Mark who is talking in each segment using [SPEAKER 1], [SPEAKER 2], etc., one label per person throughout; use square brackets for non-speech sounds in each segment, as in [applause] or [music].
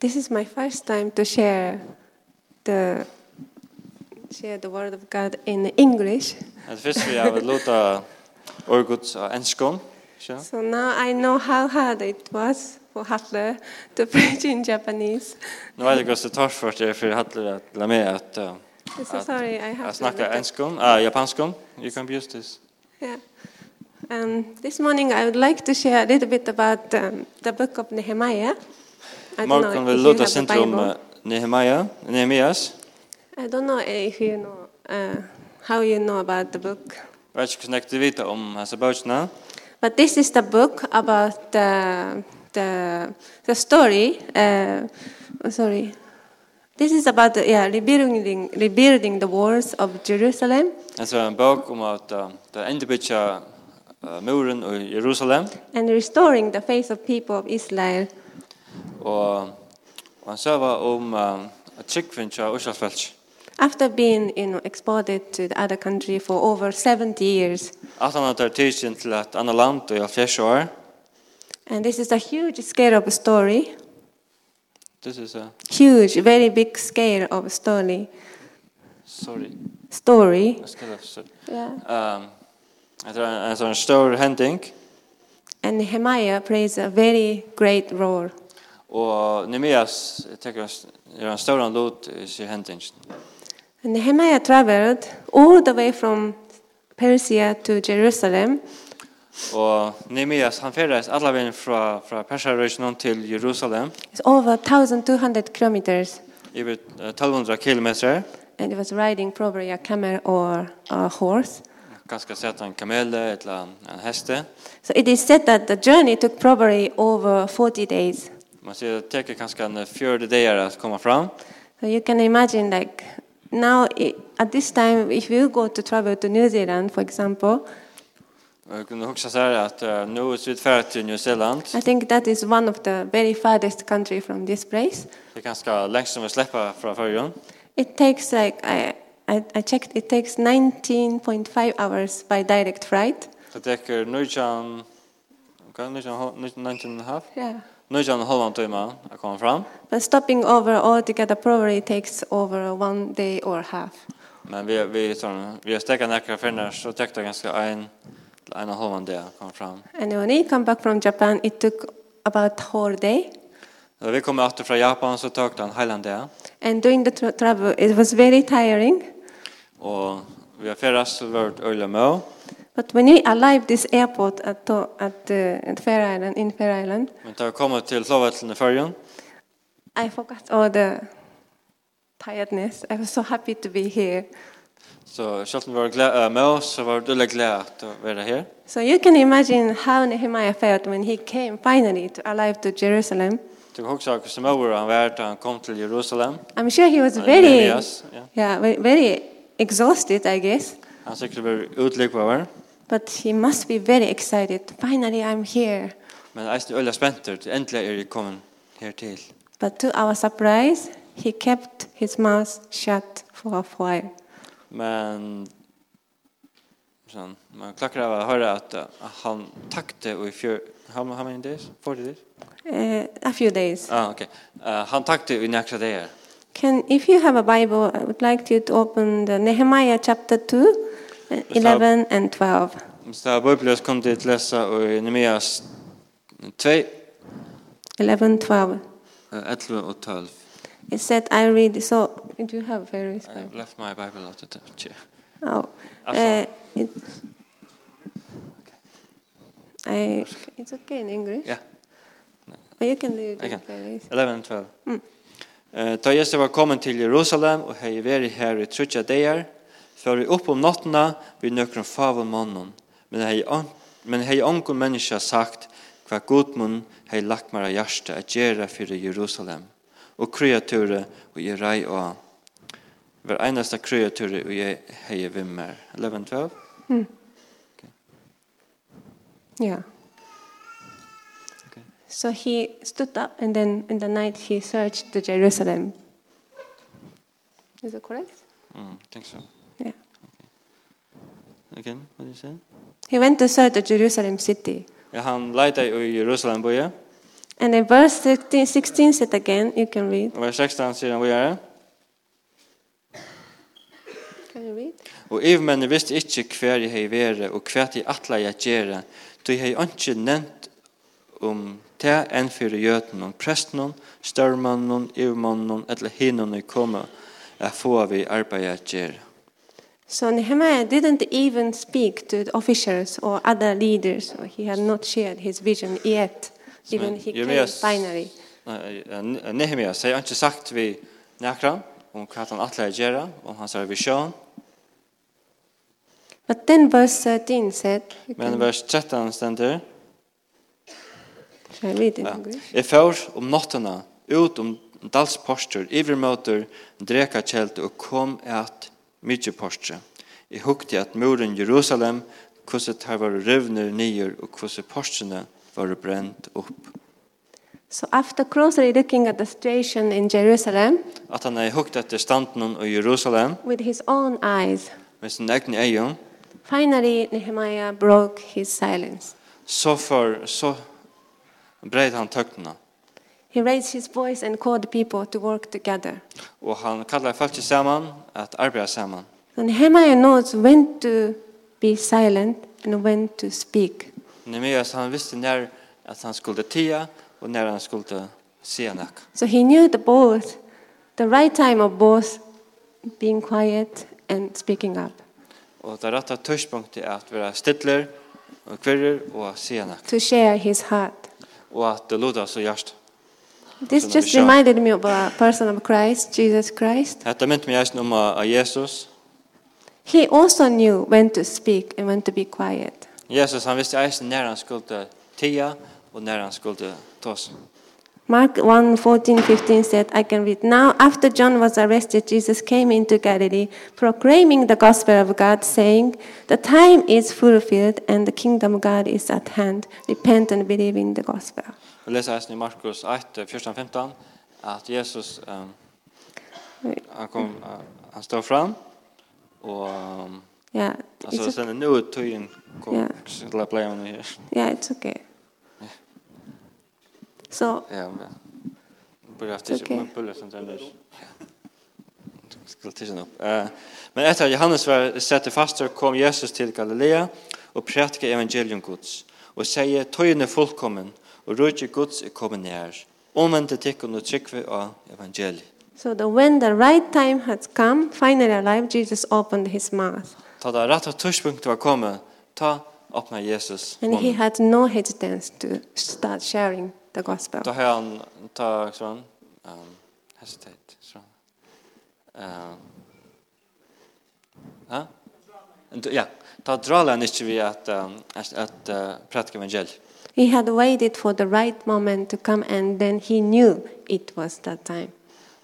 [SPEAKER 1] This is my first time to share the share the word of God in English.
[SPEAKER 2] At fyrst vi har luta orguds av enskon. Sjá.
[SPEAKER 1] So now I know how hard it was for Hatle to [laughs] preach in Japanese.
[SPEAKER 2] Nu er det gos det torfort er for Hattler at la meg at uh,
[SPEAKER 1] So
[SPEAKER 2] At-
[SPEAKER 1] sorry, I have
[SPEAKER 2] at
[SPEAKER 1] to look
[SPEAKER 2] snakka
[SPEAKER 1] up.
[SPEAKER 2] enskon, uh, japanskon. You can use this.
[SPEAKER 1] Yeah. Um, this morning I would like to share a little bit about um, the book of Nehemiah. I don't
[SPEAKER 2] Morgon
[SPEAKER 1] know
[SPEAKER 2] vil
[SPEAKER 1] if you
[SPEAKER 2] luta
[SPEAKER 1] have a
[SPEAKER 2] syndrom eh,
[SPEAKER 1] Bible.
[SPEAKER 2] Nehemiah, Nehemias.
[SPEAKER 1] I don't know if you know uh, how you know about the book.
[SPEAKER 2] Jeg vet ikke hvordan jeg vita om hans bøkene.
[SPEAKER 1] But this is the book about the the the story. Uh, oh, sorry, this is about the, yeah rebuilding rebuilding the walls of Jerusalem,
[SPEAKER 2] Det var en bok om at uh, det endebytja uh, muren i Jerusalem.
[SPEAKER 1] and restoring the faith of people of Israel.
[SPEAKER 2] Og, og han søva om uh, tryggvinn tja Urshalfeldt.
[SPEAKER 1] After being you know, exported to the other country for over 70 years.
[SPEAKER 2] At han tar tidsin til et annet land i 70 år.
[SPEAKER 1] And this is a huge scale of story,
[SPEAKER 2] This is a,
[SPEAKER 1] huge, very big scale of story.
[SPEAKER 2] sorry,
[SPEAKER 1] Story.
[SPEAKER 2] jeg skal lese.
[SPEAKER 1] Yeah.
[SPEAKER 2] Um, det er en, en stor hending.
[SPEAKER 1] And Nehemiah plays a very great role.
[SPEAKER 2] Og Nemias tekur en s- er en stor lot i sin hending.
[SPEAKER 1] And Nehemiah traveled all the way from Persia to Jerusalem,
[SPEAKER 2] Og Nemias han ferdes alla veien fra, fra Persarøysnån til Jerusalem.
[SPEAKER 1] it's over 1,200 kilometers,
[SPEAKER 2] Iver eh, 1200 kilometer.
[SPEAKER 1] and he was riding probably a camel or a horse.
[SPEAKER 2] Ganske sett en kamele, et eller annet, en heste.
[SPEAKER 1] So it is said that the journey took probably over 40 days.
[SPEAKER 2] Man ser det teker kanskje en 40 dager at komme fram.
[SPEAKER 1] So you can imagine, like now i at this time, if you go to travel to New Zealand, for example,
[SPEAKER 2] Og jeg kunne huske seg at uh, nå er Sydferd til New Zealand.
[SPEAKER 1] I think that is one of the very farthest country from this place.
[SPEAKER 2] Det er ganske lengst som vi slipper fra førjen.
[SPEAKER 1] It takes like I I, I checked. It takes 19.5 hours by direct flight.
[SPEAKER 2] Det teker 19... Hva? 19,5?
[SPEAKER 1] Yeah.
[SPEAKER 2] 19,5 timer å komme fram.
[SPEAKER 1] But stopping over altogether probably takes over one day or half.
[SPEAKER 2] Men vi vi sån vi er har stäckat några finnar så täckte ganska en en och halvan där kom fram.
[SPEAKER 1] And when he come back from Japan, it took about whole day.
[SPEAKER 2] När vi kom åter från Japan så tog han Highland där
[SPEAKER 1] And during the tra- travel, it was very tiring.
[SPEAKER 2] och vi er har färdats till vårt öliga mål.
[SPEAKER 1] But when he arrived this airport at to- at, uh, at Fair Island in Fair Island,
[SPEAKER 2] Men då kom vi till Slovakien i färjan
[SPEAKER 1] I forgot all the tiredness. I was so happy to be here.
[SPEAKER 2] så um själva var glada med oss eh, så var det öliga glada att vara här.
[SPEAKER 1] So you can imagine how Nehemiah felt when he came finally to arrive to Jerusalem.
[SPEAKER 2] Du kan också också med han var då han kom till Jerusalem.
[SPEAKER 1] I'm sure he was
[SPEAKER 2] Uh,
[SPEAKER 1] very
[SPEAKER 2] Nehemiah's, yeah.
[SPEAKER 1] yeah, ve- very exhausted, I guess.
[SPEAKER 2] Han säkert var utlig på var.
[SPEAKER 1] But he must be very excited. Finally, I'm here.
[SPEAKER 2] Men er är det öliga spänt ut. Äntligen är det kommen här till.
[SPEAKER 1] But to our surprise, he kept his mouth shut for a while.
[SPEAKER 2] Men sen man klackar av att höra att eh, han tackte och i fjör how how many days? 40 days?
[SPEAKER 1] Uh, a few days.
[SPEAKER 2] Ah okej. Okay. Eh, han tackte i några dagar.
[SPEAKER 1] Can, if you have a Bible, I would like you to open the Nehemiah chapter 2, uh, 11 and 12.
[SPEAKER 2] Så Bibeln kom det att läsa och i Nehemias 2 eh,
[SPEAKER 1] 11, 12.
[SPEAKER 2] 11 och 12.
[SPEAKER 1] It said, I read, so do you have various
[SPEAKER 2] I
[SPEAKER 1] Bible?
[SPEAKER 2] left my Bible out at the chair.
[SPEAKER 1] Oh. Uh,
[SPEAKER 2] Awesome.
[SPEAKER 1] it, I, it's okay in English.
[SPEAKER 2] Ja.
[SPEAKER 1] Or you can do it in
[SPEAKER 2] Okay.
[SPEAKER 1] Various.
[SPEAKER 2] 11 and 12. Eh, Ta Jesu var kommet til Jerusalem og hei veri her i trutja deir, fyrir upp om nottena vi nøkron favon mannen, men hei, an- men hei ongon menneska sagt hva godmunn hei lagt mara hjärsta at gjera fyrir Jerusalem, og kreature og jeg rei og hver einasta kreature og jeg hei vimmer. 11 and 12.
[SPEAKER 1] Yeah.
[SPEAKER 2] Okay.
[SPEAKER 1] So he stood up and then in the night he searched the Jerusalem. Is it correct?
[SPEAKER 2] Mm, I think so.
[SPEAKER 1] Yeah.
[SPEAKER 2] Again, what do you say?
[SPEAKER 1] He went to search the Jerusalem city.
[SPEAKER 2] Ja, han leita i Jerusalem boje.
[SPEAKER 1] And in verse 16, 16 said again, you can read.
[SPEAKER 2] Og vers 16 sier han videre.
[SPEAKER 1] Can you read?
[SPEAKER 2] Og yvmennene visste ikke hver jeg hei vere og hver jeg atla jeg gjere, då jeg hei ikke nevnt om te enn fyrir jøten om presten, størmannen, yvmannen, eller hinnon jeg komme, jeg få vi arbeid jeg gjere.
[SPEAKER 1] So Nehemiah didn't even speak to the officials or other leaders. Or he had not shared his vision yet, even he came
[SPEAKER 2] Jeremias-
[SPEAKER 1] finally.
[SPEAKER 2] Nei, eh, Nehemia sier ikke sagt um vi nekran om hva han atla jeg gjere, om hans revisjon,
[SPEAKER 1] But then verse 13 said, you
[SPEAKER 2] men
[SPEAKER 1] can-
[SPEAKER 2] vers 13 stender,
[SPEAKER 1] shall I read in
[SPEAKER 2] Ja.
[SPEAKER 1] English?
[SPEAKER 2] Jeg får om nattene ut om dalsposter, ivermøter, dreka kjelt og kom at mykje postre. Jeg hukte at muren Jerusalem, hvordan her var røvner nyer og hvordan postene var brent opp.
[SPEAKER 1] So after closely looking at the situation in Jerusalem
[SPEAKER 2] At han er hukt etter standen i Jerusalem,
[SPEAKER 1] with his own eyes,
[SPEAKER 2] med sin egen egen,
[SPEAKER 1] finally Nehemiah broke his silence.
[SPEAKER 2] så, for, så breit han tøktene.
[SPEAKER 1] He raised his voice and called people to work together.
[SPEAKER 2] Og han kallar folk sammen at arbeide sammen.
[SPEAKER 1] So Nehemiah knows when to be silent and when to speak.
[SPEAKER 2] Nemeas han visste när att han skulle tia och när han skulle se nack.
[SPEAKER 1] So he knew the both, the right time of both being quiet and speaking up,
[SPEAKER 2] Och det rätta tidpunkten är att vara stiller och kvirrer och se nack.
[SPEAKER 1] to share his heart.
[SPEAKER 2] Och att det låter så hjärt.
[SPEAKER 1] This
[SPEAKER 2] Son of
[SPEAKER 1] just
[SPEAKER 2] Isha.
[SPEAKER 1] reminded me of a person of Christ, Jesus Christ.
[SPEAKER 2] Detta mynt mig just om av Jesus.
[SPEAKER 1] He also knew when to speak and when to be quiet.
[SPEAKER 2] Jesus han visste just när han skulle tia och när han skulle tas.
[SPEAKER 1] Mark 1 14 15 said, I can read now. After John was arrested, Jesus came into Galilee, proclaiming the gospel of God, saying, The time is fulfilled and the kingdom of God is at hand. Repent and believe in the gospel.
[SPEAKER 2] Vi läser just i Markus 1 14-15 att Jesus um, han kom eh, han står fram och um,
[SPEAKER 1] Yeah,
[SPEAKER 2] alltså
[SPEAKER 1] it's, o-
[SPEAKER 2] sen nu tog kom skulle playa honom här.
[SPEAKER 1] yeah, it's okay. So,
[SPEAKER 2] Ja, men börjar efter
[SPEAKER 1] Okej.
[SPEAKER 2] okay. bullar som tänder. Skulle tiden upp. Eh, men efter att Johannes var satt fast så kom Jesus till Galilea och predikade evangelium Guds och säger tøyen är fullkommen och rike Guds är kommen nær. Omvendte tykken og trykve av evangeliet.
[SPEAKER 1] so the, when the right time has come, finally alive, Jesus opened his mouth.
[SPEAKER 2] Ta det rette tidspunktet var kommet, ta åpna Jesus
[SPEAKER 1] And he
[SPEAKER 2] munnen.
[SPEAKER 1] had no hesitance to start sharing the gospel.
[SPEAKER 2] Da har han, ta sånn, um, hesitate, sånn. Um, ja? Du- Ja, ta drar han ikke vi at, um, at, at uh, prætka evangeliet.
[SPEAKER 1] He had waited for the right moment to come, and then he knew it was that time.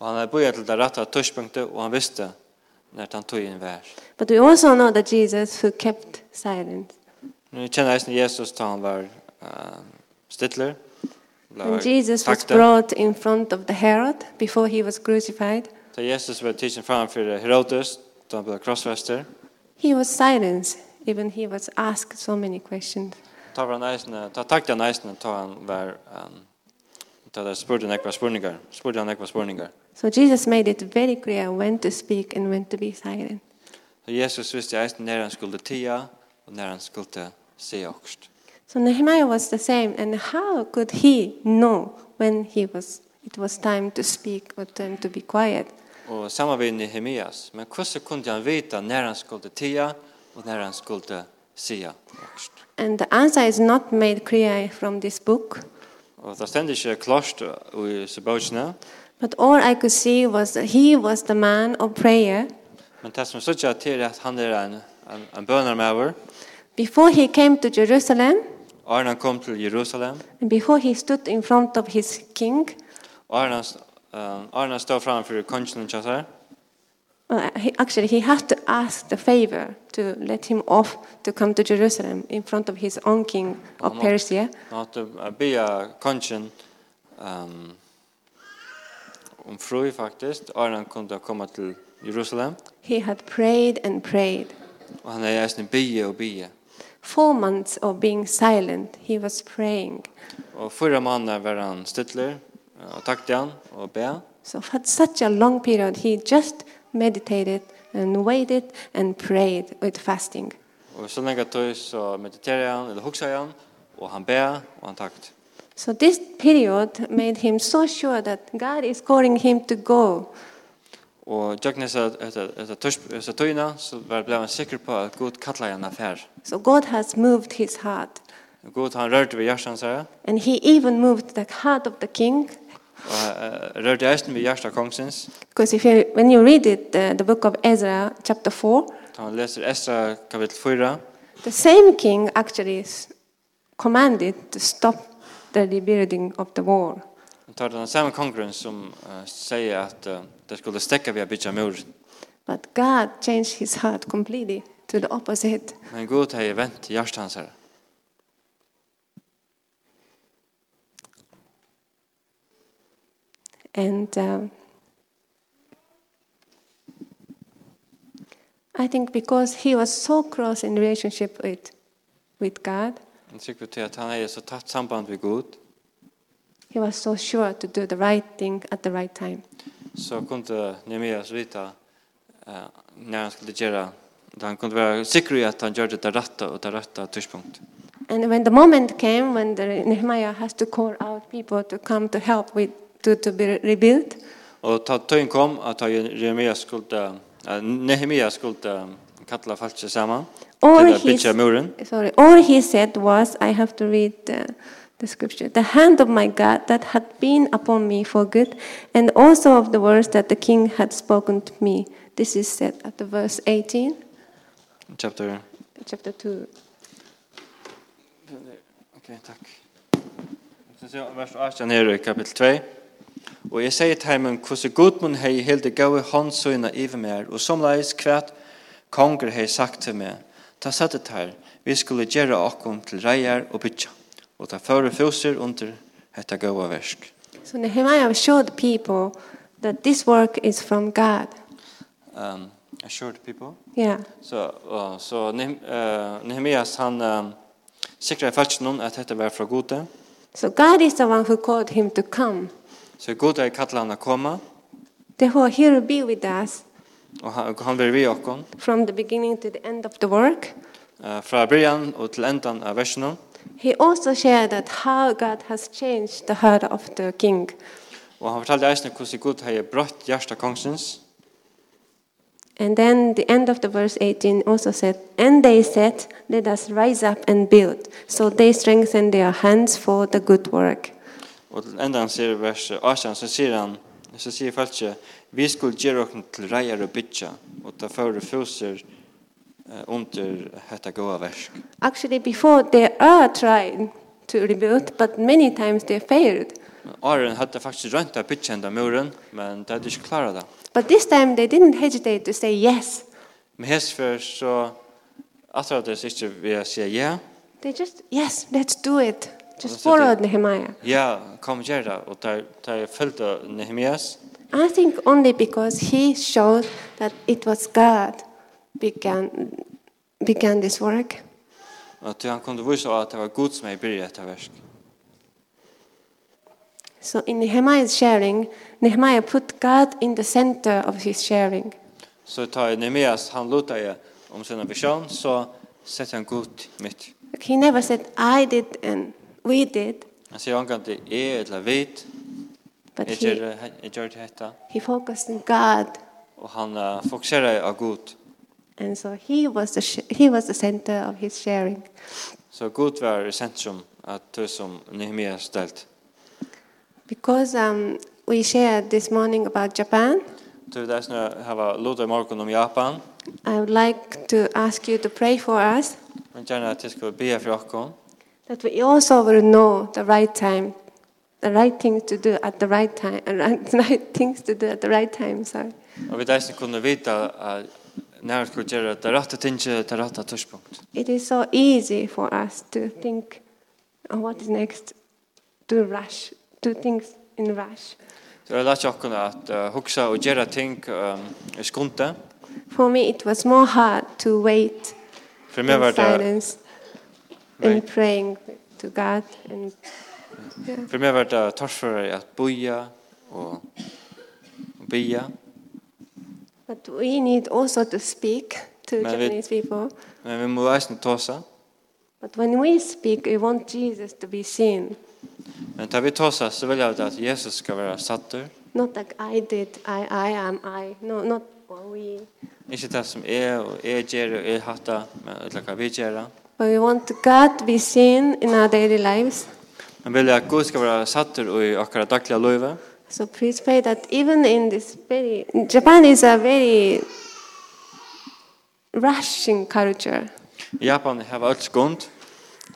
[SPEAKER 2] Og han er bøyet til det rette tidspunktet, og han visste når han tog inn vær.
[SPEAKER 1] But we also know that Jesus, who kept silent,
[SPEAKER 2] Nu kjenner jeg Jesus da han var um, stittler. Uh,
[SPEAKER 1] and Jesus was brought in front of the Herod before he was crucified,
[SPEAKER 2] Da Jesus var tidsen framfor Herodes, da han ble krossfester.
[SPEAKER 1] he was silent. Even he was asked so many questions.
[SPEAKER 2] Ta var næsne, ta takta næsne, ta han var um, ta der spurte han ekva spurningar, spurte han ekva spurningar.
[SPEAKER 1] So Jesus made it very clear when to speak and when to be silent.
[SPEAKER 2] Så Jesus visste eisen när han skulle tia og när han skulle se okst.
[SPEAKER 1] So Nehemiah was the same, and how could he know when he was? It was time to speak or time to be quiet.
[SPEAKER 2] Og samma vi Nehemias, men hvordan kunde han vita när han skulle tia og när han skulle se okst?
[SPEAKER 1] And the answer is not made clear from this book,
[SPEAKER 2] Og det stender ikke klart i Sebautsene,
[SPEAKER 1] but all I could see was that he was the man of prayer.
[SPEAKER 2] men det som sier til er at han er en, en, en bønermauer,
[SPEAKER 1] Before he came to Jerusalem,
[SPEAKER 2] Arne han kom til Jerusalem,
[SPEAKER 1] and before he stood in front of his king,
[SPEAKER 2] Arne han, uh, Arne han stod framfor kongen og kjassar,
[SPEAKER 1] well, uh, he, actually, he had to ask the favor to let him off to come to Jerusalem in front of his own king of
[SPEAKER 2] Wow.
[SPEAKER 1] Persia.
[SPEAKER 2] Han hade bia konchen um, om fru faktiskt. Arne han kunde komma till Jerusalem. er
[SPEAKER 1] He had prayed and prayed.
[SPEAKER 2] Och han är eisen bia och bia.
[SPEAKER 1] four months of being silent, he was praying.
[SPEAKER 2] Og fyra måneder var han støtler, og takte han, og be.
[SPEAKER 1] So for such a long period, he just meditated and waited and prayed with fasting.
[SPEAKER 2] Og så lenge tog så mediterer han, eller hukser han, og han be, og han takte.
[SPEAKER 1] So this period made him so sure that God is calling him to go.
[SPEAKER 2] Og Jøgnes etter tøyene, så var ble han sikker på at Gud kallet han affær.
[SPEAKER 1] So God has moved his heart.
[SPEAKER 2] Og Gud han rørte ved hjertet hans her,
[SPEAKER 1] And he even moved the heart of the king.
[SPEAKER 2] og eh, rørte eisen ved hjertet kongsens.
[SPEAKER 1] Because if you, when you read it, uh, the book of Ezra, chapter 4,
[SPEAKER 2] Da han leser Esra kapitel 4,
[SPEAKER 1] the same king actually s- commanded to stop the rebuilding of the wall.
[SPEAKER 2] Han tar den samme kongren som uh, sier at uh, det skulle stekke ved å bygge mur.
[SPEAKER 1] But God changed his heart completely to the opposite.
[SPEAKER 2] Men Gud har vent til hjertet hans her.
[SPEAKER 1] And um, I think because he was so close in relationship with, with God,
[SPEAKER 2] Han sikker til at han er så tatt samband med Gud,
[SPEAKER 1] he was so sure to do the right thing at the right time.
[SPEAKER 2] så kunne Nehemias vite uh, når han skulle gjøre det. Han kunne være sikker i at han gjør det det rette og det rette tidspunkt.
[SPEAKER 1] And when the moment came when the Nehemiah has to call out people to come to help with to, to be rebuilt,
[SPEAKER 2] Og ta tøyen kom at Nehemias skulle, uh, Nehemias skulle uh, kalle folk seg sammen
[SPEAKER 1] Or
[SPEAKER 2] til å
[SPEAKER 1] his-
[SPEAKER 2] bygge muren.
[SPEAKER 1] sorry, all he said was, I have to read the, the scripture. The hand of my God that had been upon me for good, and also of the words that the king had spoken to me. This is said at the verse 18,
[SPEAKER 2] Chapter
[SPEAKER 1] chapter 2.
[SPEAKER 2] Okej, tack. Så ser jag vers 18 her i kapitel 2. Og jeg sier til heimen hvordan Gudmund hei helt det gode håndsøyna iver mer, er, og somleis kvært konger hei sagt til meg, ta settet her, vi skulle gjøre okkom til reier og bytja, og ta føre foser under hetta gode versk.
[SPEAKER 1] So Nehemiah showed people that this work is from God.
[SPEAKER 2] Um, assured people. uh,
[SPEAKER 1] Yeah.
[SPEAKER 2] Så, og, så Nehem- eh, Nehemias han um, sikrer faktisk noen at dette var fra gode,
[SPEAKER 1] So God is the one who called him to come.
[SPEAKER 2] så gode er kattlet han å komme,
[SPEAKER 1] Therefore, he will be with us
[SPEAKER 2] og han, og han vil vi okkom,
[SPEAKER 1] from the beginning to the end of the work.
[SPEAKER 2] Eh, fra byrjan og til endan av versjonen.
[SPEAKER 1] He also shared that how God has changed the heart of the king.
[SPEAKER 2] Og han fortalte eisne hvordan Gud har brøtt hjertet kongsens.
[SPEAKER 1] And then the end of the verse 18 also said, And they said, Let us rise up and build. So they strengthened their hands for the good work.
[SPEAKER 2] Og til endan sier vers 18, så sier han, så sier falskje, vi skulle gjøre okken til reier og bytja, og ta føre foser eh, under hetta goa versk.
[SPEAKER 1] Actually, before they are trying to rebuild, but many times they failed.
[SPEAKER 2] Men Aaron hadde faktisk rønt av bytja enda muren, men det hadde ikke klaret det.
[SPEAKER 1] But this time they didn't hesitate to say yes.
[SPEAKER 2] Men hesfør så atrar det seg ikke ved å si ja,
[SPEAKER 1] They just, Yes, let's do it. Just
[SPEAKER 2] Understood, yeah.
[SPEAKER 1] followed Nehemiah.
[SPEAKER 2] ja, kom gjør det, og er der, der følte Nehemias,
[SPEAKER 1] I think only because he showed that it was God began began this work.
[SPEAKER 2] og til han kunne vise at det var Gud som er byrja etter versk.
[SPEAKER 1] So in Nehemiah's sharing, Nehemiah put God in the center of his sharing.
[SPEAKER 2] Så tar Nehemias, han lutar ju om sina vision, så sätter han Gud mitt.
[SPEAKER 1] Like, He never said I did and we did,
[SPEAKER 2] Han säger omgående till er eller vit,
[SPEAKER 1] but
[SPEAKER 2] jag gör,
[SPEAKER 1] he
[SPEAKER 2] det- jag gör det detta.
[SPEAKER 1] he focused on God,
[SPEAKER 2] Och han uh, fokuserar av Gud.
[SPEAKER 1] and so he was the sh- he was the center of his sharing.
[SPEAKER 2] Så Gud var i centrum att det som Nehemias ställt.
[SPEAKER 1] Because um, we shared this morning about Japan,
[SPEAKER 2] Du där snö här var Lotta i morgon om Japan.
[SPEAKER 1] I would like to ask you to pray for us
[SPEAKER 2] Men gärna att jag ska be för er.
[SPEAKER 1] that we also will know the right time, the right thing to do at the right time, [laughs] uh, right, right things to do at the right time. Sorry,
[SPEAKER 2] Och vi där snö kunde veta att när vi skulle göra det rätta tinget, det rätta tidspunkt.
[SPEAKER 1] it is so easy for us to think, oh, what is next, to rush, do things in rush.
[SPEAKER 2] Så er jag lärde jag kunna att uh, huxa och göra ting um, i skundet.
[SPEAKER 1] For me, it was more hard to wait
[SPEAKER 2] För mig
[SPEAKER 1] in
[SPEAKER 2] var det
[SPEAKER 1] silence. and
[SPEAKER 2] Right.
[SPEAKER 1] praying to God and
[SPEAKER 2] För mig var det torrförare att boja och bia.
[SPEAKER 1] but we need also to speak to
[SPEAKER 2] Men vi-
[SPEAKER 1] Japanese people.
[SPEAKER 2] Men vi må eisen tåsa.
[SPEAKER 1] But when we speak, we want Jesus to be seen,
[SPEAKER 2] Men tar vi tåsa så vill jag att Jesus ska vara sattur.
[SPEAKER 1] not like I did, I, I am, I. No, not what we.
[SPEAKER 2] Ikke det som er og er gjer og er hatta, men eller hva vi gjer.
[SPEAKER 1] But we want God to be seen in our daily lives.
[SPEAKER 2] Men vil jeg at Gud skal være sattur og i akkara dagliga løyve.
[SPEAKER 1] So please pray that even in this very Japan is a very rushing culture.
[SPEAKER 2] I Japan har alt skund.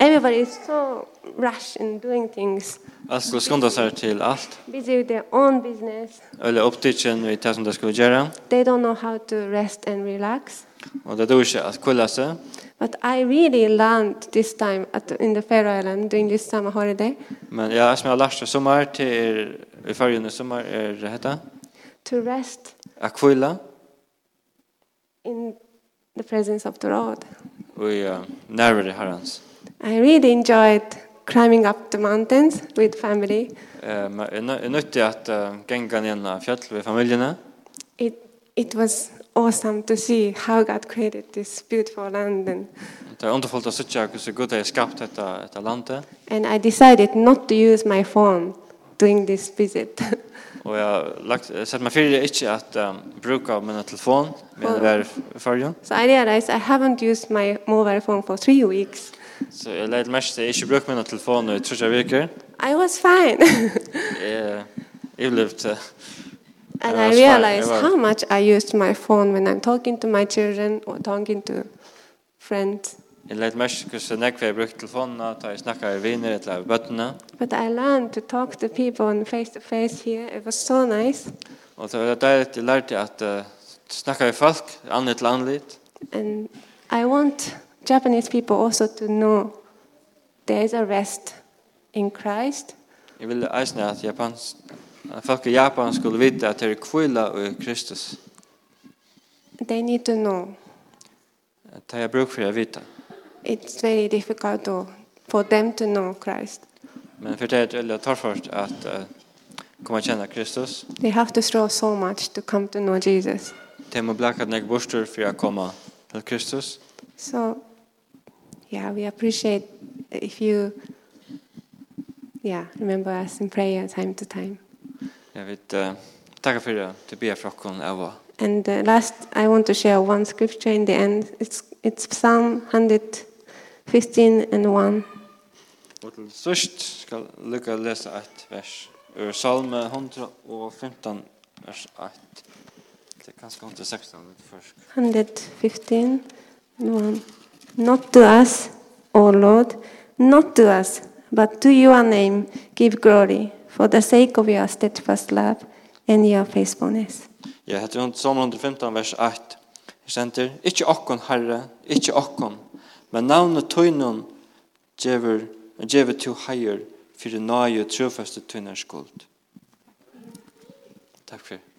[SPEAKER 1] Everybody is so rushed in doing things,
[SPEAKER 2] Alt skulle skunda seg til alt.
[SPEAKER 1] busy with their own business.
[SPEAKER 2] Eller opptidsen i det som det skulle gjøre.
[SPEAKER 1] They don't know how to rest and relax.
[SPEAKER 2] Og det er ikke at kulla seg.
[SPEAKER 1] But I really learned this time at, in the Faroe Island during this summer holiday
[SPEAKER 2] Men ja, som jeg har lært i sommer til er, i fargen i sommer er det hette.
[SPEAKER 1] to rest
[SPEAKER 2] At kulla
[SPEAKER 1] in the presence of the Lord.
[SPEAKER 2] og i uh, nærvare herrens.
[SPEAKER 1] I really enjoyed climbing up the mountains with family.
[SPEAKER 2] Eh, men Jeg nø- jeg er nødt til at uh, genga ned av fjall ved familiene.
[SPEAKER 1] It it was awesome to see how God created this beautiful land and
[SPEAKER 2] Det er underfullt å sitte hvordan Gud har skapt dette, dette landet.
[SPEAKER 1] and I decided not to use my phone during this visit. [laughs]
[SPEAKER 2] Og jeg har lagt, sett meg fyrir ikke at um, bruka min telefon med å være i fargen.
[SPEAKER 1] so I realized I haven't used my mobile phone for 3 weeks.
[SPEAKER 2] Så jeg leid mest til jeg ikke bruk min telefon i trusja viker.
[SPEAKER 1] I was fine. [laughs]
[SPEAKER 2] Jeg, er- jeg blivet uh,
[SPEAKER 1] and
[SPEAKER 2] Yeah,
[SPEAKER 1] I
[SPEAKER 2] that's fine.
[SPEAKER 1] realized
[SPEAKER 2] Yeah, well-
[SPEAKER 1] how much I used my phone when I'm talking to my children or talking to friends.
[SPEAKER 2] Jeg leit mest hvordan nekve jeg brukte telefonene, da jeg snakka i viner eller i bøttene.
[SPEAKER 1] But I learned to talk to people and face to face here. It was so nice.
[SPEAKER 2] Og er det var deilig jeg lærte at uh, snakka i folk, annet til annet.
[SPEAKER 1] And I want Japanese people also to know there is a rest in Christ.
[SPEAKER 2] Jeg ville eisne at Japans, at folk i Japan skulle vite at det er kvila og Kristus.
[SPEAKER 1] They need to know.
[SPEAKER 2] Det har jeg bruk for å vite.
[SPEAKER 1] It's very difficult to, for them to know Christ.
[SPEAKER 2] Men for det er det veldig torrfart at uh, komme å kjenne Kristus.
[SPEAKER 1] They have to throw so much to come to know Jesus.
[SPEAKER 2] Det må blakka nek bostur for å komme til Kristus.
[SPEAKER 1] So, yeah, we appreciate if you, yeah, remember us in prayer time to time.
[SPEAKER 2] Jeg vil uh, takka for det til be for okkon av og.
[SPEAKER 1] And uh, last, I want to share one scripture in the end. It's, it's Psalm 115 and 1.
[SPEAKER 2] Og til sørst skal lukka lesa eit vers. Ur salme 115 vers 1. Det er kanskje 116 litt først.
[SPEAKER 1] 115 and 1. Not to us, O Lord, not to us, but to your name give glory for the sake of your steadfast love and your faithfulness.
[SPEAKER 2] Ja, heter hon Psalm 115 vers 8. Her sender, ikkje okkon herre, ikkje okkon, men navnet tøynun djever, djever to heier, fyrir nage trofeste tøynar skuld. Takk for